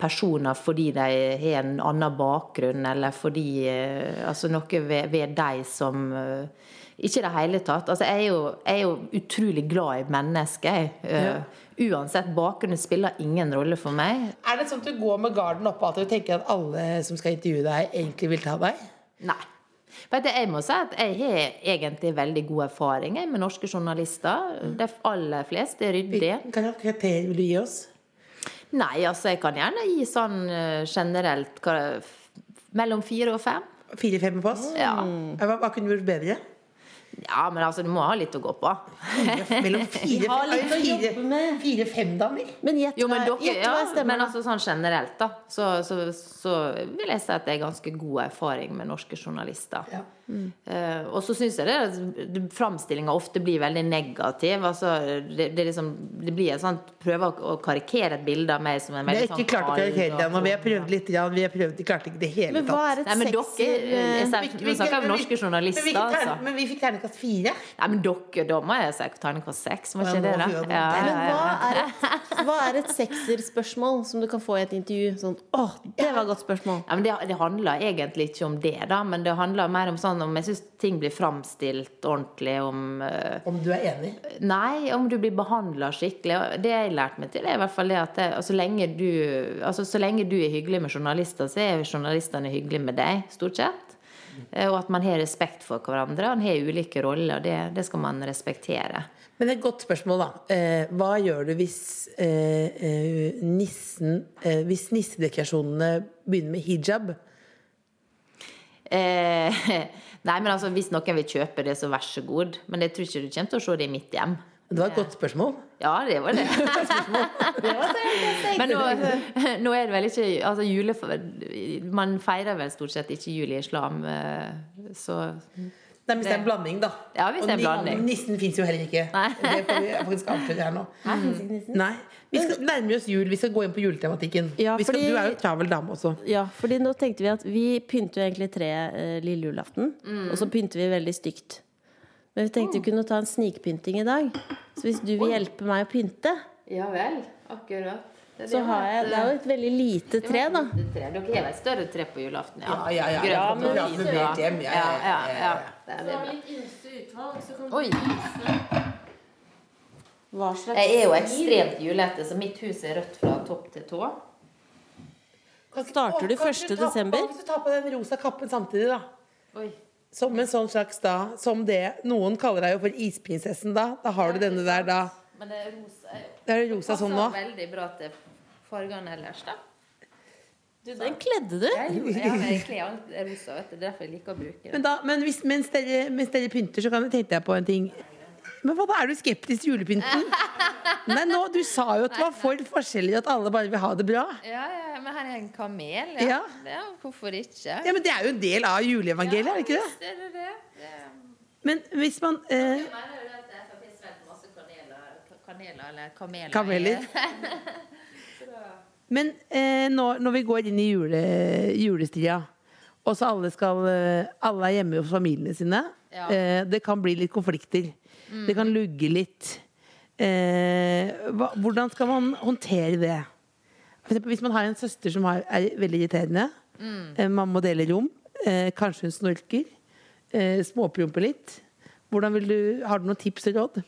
personer fordi de har en annen bakgrunn, eller fordi eh, Altså noe ved, ved de som eh, Ikke i det hele tatt. Altså, jeg er jo, jeg er jo utrolig glad i mennesker, jeg. Eh, Uansett bakgrunn det spiller ingen rolle for meg. Er det sånn at du går med garden oppe at du tenker at alle som skal intervjue deg, egentlig vil ta deg? Nei. Vet du, jeg må si at jeg har egentlig veldig god erfaring jeg, med norske journalister. De aller fleste er ryddige. Hvilken karakter vil du gi oss? Nei, altså jeg kan gjerne gi sånn eh, generelt hva, f- mellom fire og fem. Fire-fem på oss? Ja. Hva, hva kunne du gjort bedre? ja, men altså du må ha litt å gå på. Mellom fire har litt å fire- jobbe med. Fire-fem damer? Men gjett Jo, men hva- dere, gjett Eh, ja, hva jeg stemmer, da. men altså sånn generelt, da. Så, så, så vil jeg si at det er ganske god erfaring med norske journalister. Ja. Eh, og så syns jeg det framstillinga ofte blir veldig negativ. Altså, det, det, er liksom, det blir et sånt Prøve å, å karikere et bilde av meg som en Vi har veldig sånn ikke klart å kald karikere og- deg nå. Vi har prøvd litt, grann, vi har prøvd, vi klarte ikke det hele Men hva er et Nei, men dere sekser jeg eh, ser- Nå snakker jeg om norske men vi, journalister, fikk altså. terne- men vi fikk ternekast fire. Nei, men dere, da må jeg si terningkast seks, må Ja, ikke nå det da? får jeg det. Ja, Men ja, hva ja. er et, hva er et sekserspørsmål som du kan få i et intervju? Sånn, åh, det var et godt spørsmål. Ja, men det, det handler egentlig ikke om det, da, men det handler mer om sånn om jeg syns ting blir framstilt ordentlig, om eh, Om du er enig? Nei, om du blir behandla skikkelig. Og Det jeg lærte meg til, er i hvert fall det at det, altså, så, lenge du, altså, så lenge du er hyggelig med journalister, så er journalistene hyggelige med deg, stort sett. Eh, Og at man har respekt for hverandre. Man har ulike roller, og det, det skal man respektere. Men et godt spørsmål, da. Eh, hva gjør du hvis eh, eh, nissen eh, Hvis nissedekorasjonene begynner med hijab? Eh, nei, men altså, hvis noen vil kjøpe det, så vær så god. Men jeg tror ikke du kommer til å se det i mitt hjem. Det var et godt spørsmål. Ja, det var det. Men nå, nå er det vel ikke altså, jule, Man feirer vel stort sett ikke jul i islam, eh, så Nei, hvis det er en blanding, da. Ja, hvis Og det er en ni- blanding. Nissen fins jo heller ikke. Det får vi faktisk avsløre her nå. Nei. Vi skal nærme oss jul. Vi skal gå inn på juletematikken. Ja, vi skal, fordi- Du er jo travel dame også. Ja, fordi nå tenkte vi at vi pynter jo egentlig treet eh, lille julaften. Og så pynter vi veldig stygt. Men vi tenkte vi kunne ta en snikpynting i dag. Så hvis du vil hjelpe meg å pynte, Ja vel. Akkurat. så har jeg Det er jo et veldig lite tre, da. Dere har vel et større tre på julaften? Ja, ja, ja. Grønt Ja, og men- lyse, Ja, da. med hjem, ja, ja, ja, ja, ja. Det er det bra. Oi. Hva slags Jeg er jo ekstremt julete, så mitt hus er rødt fra topp til tå. Kan ikke- Starter Å, du kan 1. ikke ta på- desember? Kan ikke du ta på den rosa kappen samtidig, da? Oi. Som en sånn slags da Som det Noen kaller deg jo for isprinsessen, da. Da har du denne der, da. Men det er rosa. Det er rosa sånn nå. veldig bra til fargene ellers, da. Du, den kledde du. Jeg, gjorde- ja, men jeg kler alt rosa, vet du. Det er Derfor jeg liker å bruke det. Men, da, men hvis, mens, dere, mens dere pynter, så kan jeg tenke deg på en ting. Men hva da, er du skeptisk til julepynten? Nei, nå, Du sa jo at det var for forskjellig, at alle bare vil ha det bra. Ja, ja, men her er en kamel. Ja. hvorfor ikke? Ja, Men det er jo en del av juleevangeliet, er det ikke det? er det det. Men hvis man eh, mener jo at Frp svelger masse kaneler, kaneler eller kameler. Kameler. Men eh, når, når vi går inn i jule, julestria, og så alle skal eh, Alle er hjemme hos familiene sine. Ja. Eh, det kan bli litt konflikter. Det kan lugge litt. Eh, hva, hvordan skal man håndtere det? For eksempel, hvis man har en søster som har, er veldig irriterende, eh, man må dele rom, eh, kanskje hun snorker, eh, småpromper litt. Hvordan vil du, har du noen tips og råd?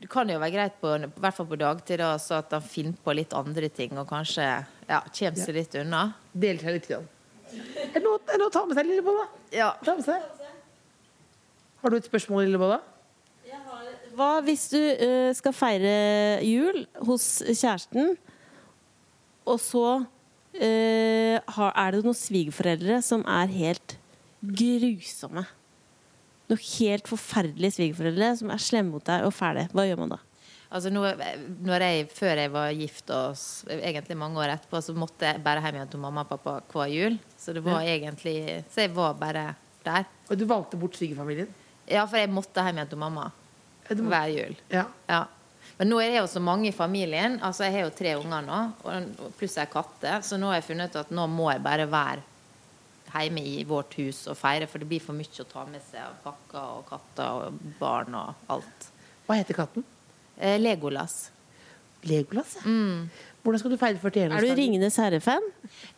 Det kan jo være greit, på, i hvert fall på dagtid, da, så at han finner på litt andre ting og kanskje ja, kommer seg litt unna. Dele seg litt. Grann. Er det noe er det noe å ta med seg, Lillebolla? Ja. Ta med seg. Har du et spørsmål, Lillebolla? Hva hvis du eh, skal feire jul hos kjæresten, og så eh, har, er det noen svigerforeldre som er helt grusomme? Noen helt forferdelige svigerforeldre som er slemme mot deg og fæle. Hva gjør man da? Altså, nå, når jeg, før jeg var gift, og s- egentlig mange år etterpå, så måtte jeg bare hjem igjen til mamma og pappa hver jul. Så det var egentlig Så jeg var bare der. Og du valgte bort svigerfamilien? Ja, for jeg måtte hjem igjen til mamma hver jul. Ja. Ja. Men nå er det jo så mange i familien. Altså, jeg har jo tre unger nå, og- og pluss ei katte. Så nå har jeg funnet ut at nå må jeg bare være hjemme i vårt hus og feire, for det blir for mye å ta med seg av pakker og katter og barn og alt. Hva heter katten? Eh, Legolas. Legolas, ja. Hvordan skal du feire 41-årsdagen? Er du Ringenes herre-fan?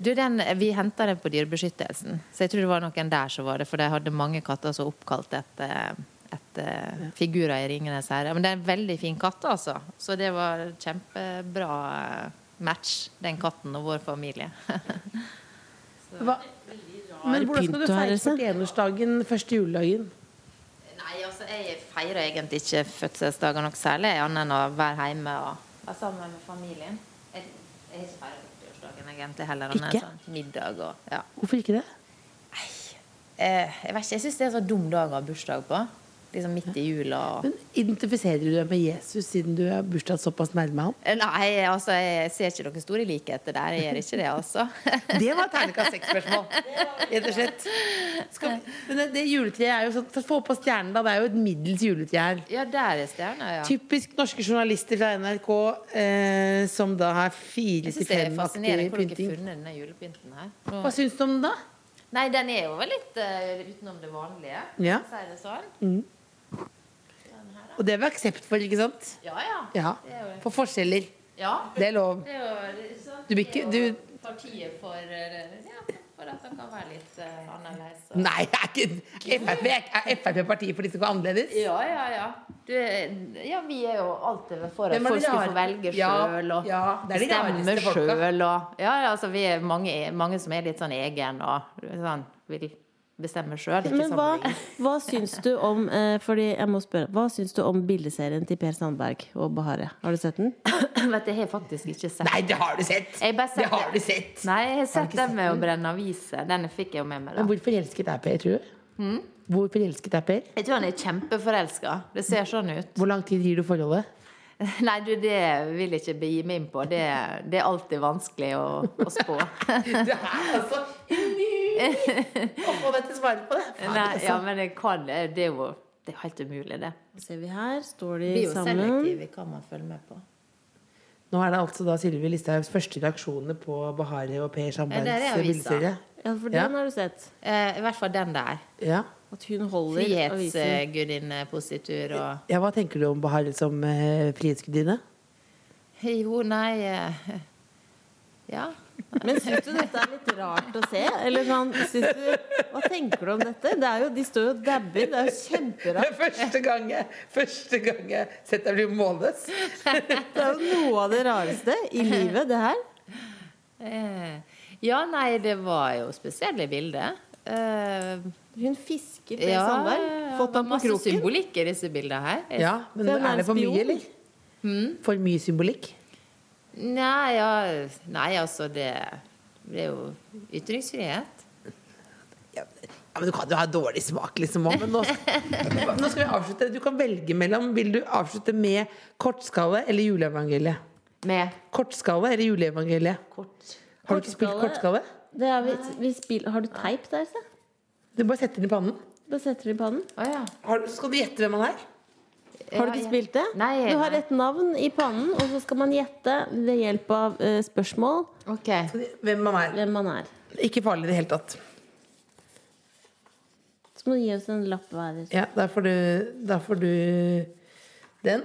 Du, den, vi henta den på Dyrebeskyttelsen, så jeg tror det var noen der som var det. For de hadde mange katter som var oppkalt etter, etter figurer i 'Ringenes herre'. Men det er en veldig fin katt, altså. Så det var kjempebra eh, match, den katten og vår familie. Hva? Men hvordan skal du pynt du har, feire altså. 41-årsdagen første juledagen? Nei, altså, jeg feirer egentlig ikke fødselsdager noe særlig, annet enn å være hjemme og være sammen med familien. Jeg, jeg har ikke feira 40-årsdagen egentlig heller, annet enn Ikke? sånn middag og ja. Hvorfor ikke det? Eh, jeg vet ikke, jeg syns det er en så dum dag å ha bursdag på. Liksom midt i jula og Men identifiserer du deg med Jesus siden du har bursdag såpass nærme ham? Eh, Nei, altså, jeg ser ikke noen store likheter der. Jeg gjør ikke det, altså. Det var et terningkast seks-spørsmål. Rett og slett. Skal vi, men det, det juletreet er jo sånn Få på stjernen, da. Det er jo et middels juletre her. Ja, der er stjerna, ja. Typisk norske journalister fra NRK eh, som da har fire Jeg til syns det er fem fascinerende aktive hvor dere har pynting. funnet denne julepynten her. Hva syns du om den, da? Nei, den er jo vel litt eh, utenom det vanlige, Ja. for å si det sånn. Og det har vi aksept for, ikke sant? Ja, ja. Ja. Det er jo- For forskjeller. ja. Det er lov. Det er jo det er sant. Du blir ikke- Det er jo du- Partiet for, eh, ja, for at det kan være litt eh, annerledes. og- Nei, er ikke Frp er er Frp partiet for de som går annerledes? Ja, ja, ja. Du, ja, vi er jo alltid for Hvem at er de folk skal få rare? velge Ja, sjøl og ja, det er de bestemme rareste folka. sjøl. Og, ja, ja, altså, vi er mange, mange som er litt sånn egen og sånn, vil bestemme sånn sjøl. Men hva, hva syns du om eh, Fordi jeg må spørre Hva syns du om bildeserien til Per Sandberg og Bahareh? Har du sett den? Vet du, jeg har faktisk ikke sett Nei, det har du sett! Jeg bare Det sett har du det. sett! Nei, jeg har sett den med å brenne aviser. Den fikk jeg jo med meg. Men da hvor forelsket er Per, tror du? Hmm? Hvor forelsket er Per? Jeg tror han er kjempeforelska. Det ser sånn ut. Hvor lang tid gir du forholdet? Nei, du, det vil jeg ikke begi meg inn på. Det, det er alltid vanskelig å, å spå. Det er altså umulig å få deg til å svare på det! Faen, Nei, altså. ja, men jeg kan det. Det er jo det er helt umulig, det. Ser vi her, står de Vi er jo sammen. selektive i hva man følger med på. Nå er det altså da Sylvi Listhaugs første reaksjoner på Bahareh og Per Ja, der Sandbergs er avisa. bildeserie. Ja, for Ja. den har du sett. Eh, I hvert fall den der. Ja. At hun holder avisen. Frihetsgudinnepositur og ja, hva tenker du om Bahareh som eh, frihetsgudinne? Jo, nei eh, Ja. Men syns du dette er litt rart å se? Eller sånn, syns du, hva tenker du om dette? Det er jo, de står jo og dabber. Det er jo Det kjemperart. er første gang jeg, første gang jeg har sett deg bli målløs. Det er jo noe av det rareste i livet, det her. Eh, ja, nei, det var jo spesielle bilder. Eh, Hun fisker Per ja, Sandberg. Fått ham på masse kroken. symbolikk i disse bildene her. Jeg- Ja, men Den er er det for mye, spion. Hmm? eller? For mye symbolikk? Nei, ja, nei, altså, det, det er jo ytringsfrihet. Ja, men Du kan jo ha dårlig smak, liksom. også, Men nå, nå skal vi avslutte. Du kan velge mellom Vil du avslutte med kortskalle eller juleevangeliet? Med Kortskalle eller juleevangeliet? kort Har du ikke spilt kortskalle? Kortskalle? Det er vi, vi spill- har du teip der, se? Du bare setter den i pannen. Da setter du i pannen. Å ja. Har, du- skal du gjette hvem han er? Har du Ja, ikke ja. spilt det? Nei, Du har nei. et navn i pannen, og så skal man gjette ved hjelp av eh, spørsmål Ok. Hvem han er. hvem man er. Ikke farlig i det hele tatt. Så må du gi oss en lapp hver. Ja, der får du, der får du den.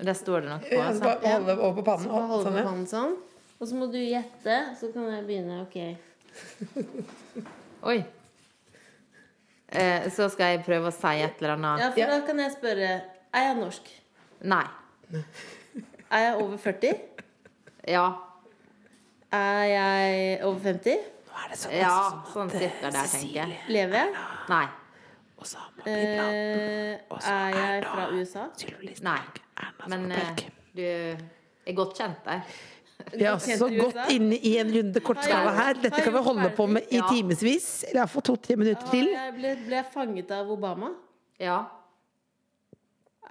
Der står det noe på. Ja, så sant? bare holde over på pannen. Bare holde på Sånn, ja. pannen sånn. Og så må du gjette, så kan jeg begynne. Ok. Oi. Eh, så skal jeg prøve å si et eller annet. Ja, for da kan jeg spørre Er jeg norsk? Nei. Er jeg over 40? Ja. Er jeg over 50? Nå er det sånn. ja. Sånn cirka der, tenker jeg. Lever jeg? Nei. Og så har man Eh, er jeg fra USA? Nei. Altså, Men eh, du er godt kjent der. Vi er også Kjente godt USA. inne i en runde kortskala her. Dette kan vi holde på med i Ja. timevis. Eller iallfall to-tre minutter Har til. jeg ble, ble jeg fanget av Obama? Ja.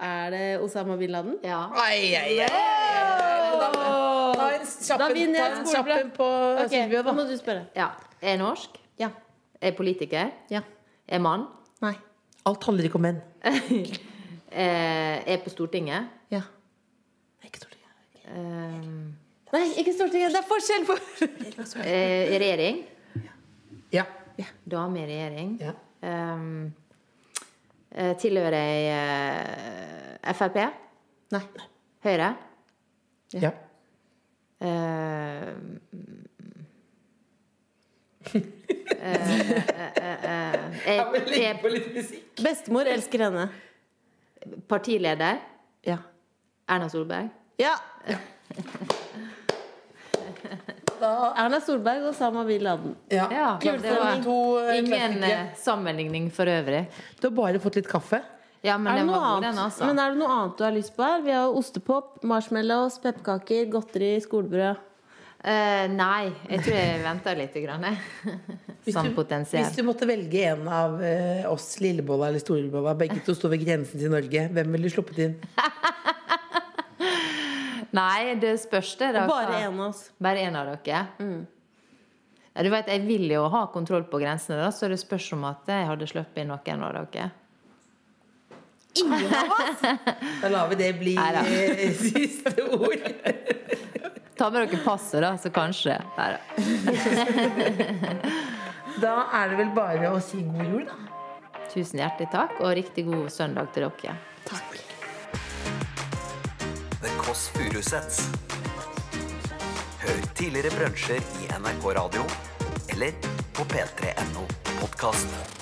Er det Osama bin Laden? Ja. Ai, ai, ai. Ta en Da kjapp en- vinner ta jeg en skolebrød. kjapp en på Ok, nå Sylvia, da. må du spørre. ja. Er jeg norsk? Ja. Er jeg politiker? Ja. Er jeg mann? Nei. Alt handler ikke om menn. Eh, er jeg på Stortinget? Ja. Eh, Eh, Nei, ikke Stortinget. Det er forskjell på er jeg i regjering? Ja. Eh, dame i regjering. Ja. Ehm, eh, tilhører ei eh, Frp? Nei. Høyre? ja. Ehm, eh, Jeg vil legge på litt musikk. Bestemor elsker henne. partileder? Ja. Erna Solberg? Ja! Erna Solberg og Osama bin Laden. Ja. Ja, Klart det var to, eh, ingen klassikere. eh, sammenligning for øvrig. Du har bare fått litt kaffe. Ja, men Er det, den noe var god, den, annet, altså. men er det noe annet du har lyst på her? Vi har jo ostepop, marshmallows, pepperkaker, godteri, skolebrød. Eh, nei, jeg tror jeg venter litt. Grann, jeg. Hvis Sånn du- Hvis potensielt. du måtte velge en av eh, oss, Lillebolla eller Storebolla, begge to står ved grensen til Norge, hvem ville du sluppet inn? Nei, det spørs det. Da. Bare en av oss. Bare en av dere? Mm. Ja, du vet, Jeg vil jo ha kontroll på grensene, da, så det spørs om at jeg hadde sluppet inn noen av dere. Da lar vi det bli Neida. eh, siste ord. Ta med dere passet, da, så kanskje. Nei da. Da er det vel bare å si god jul, da. Tusen hjertelig takk, og riktig god søndag til dere. The Kåss Furuseths. Hør tidligere brunsjer i NRK Radio eller på p3.no podkast.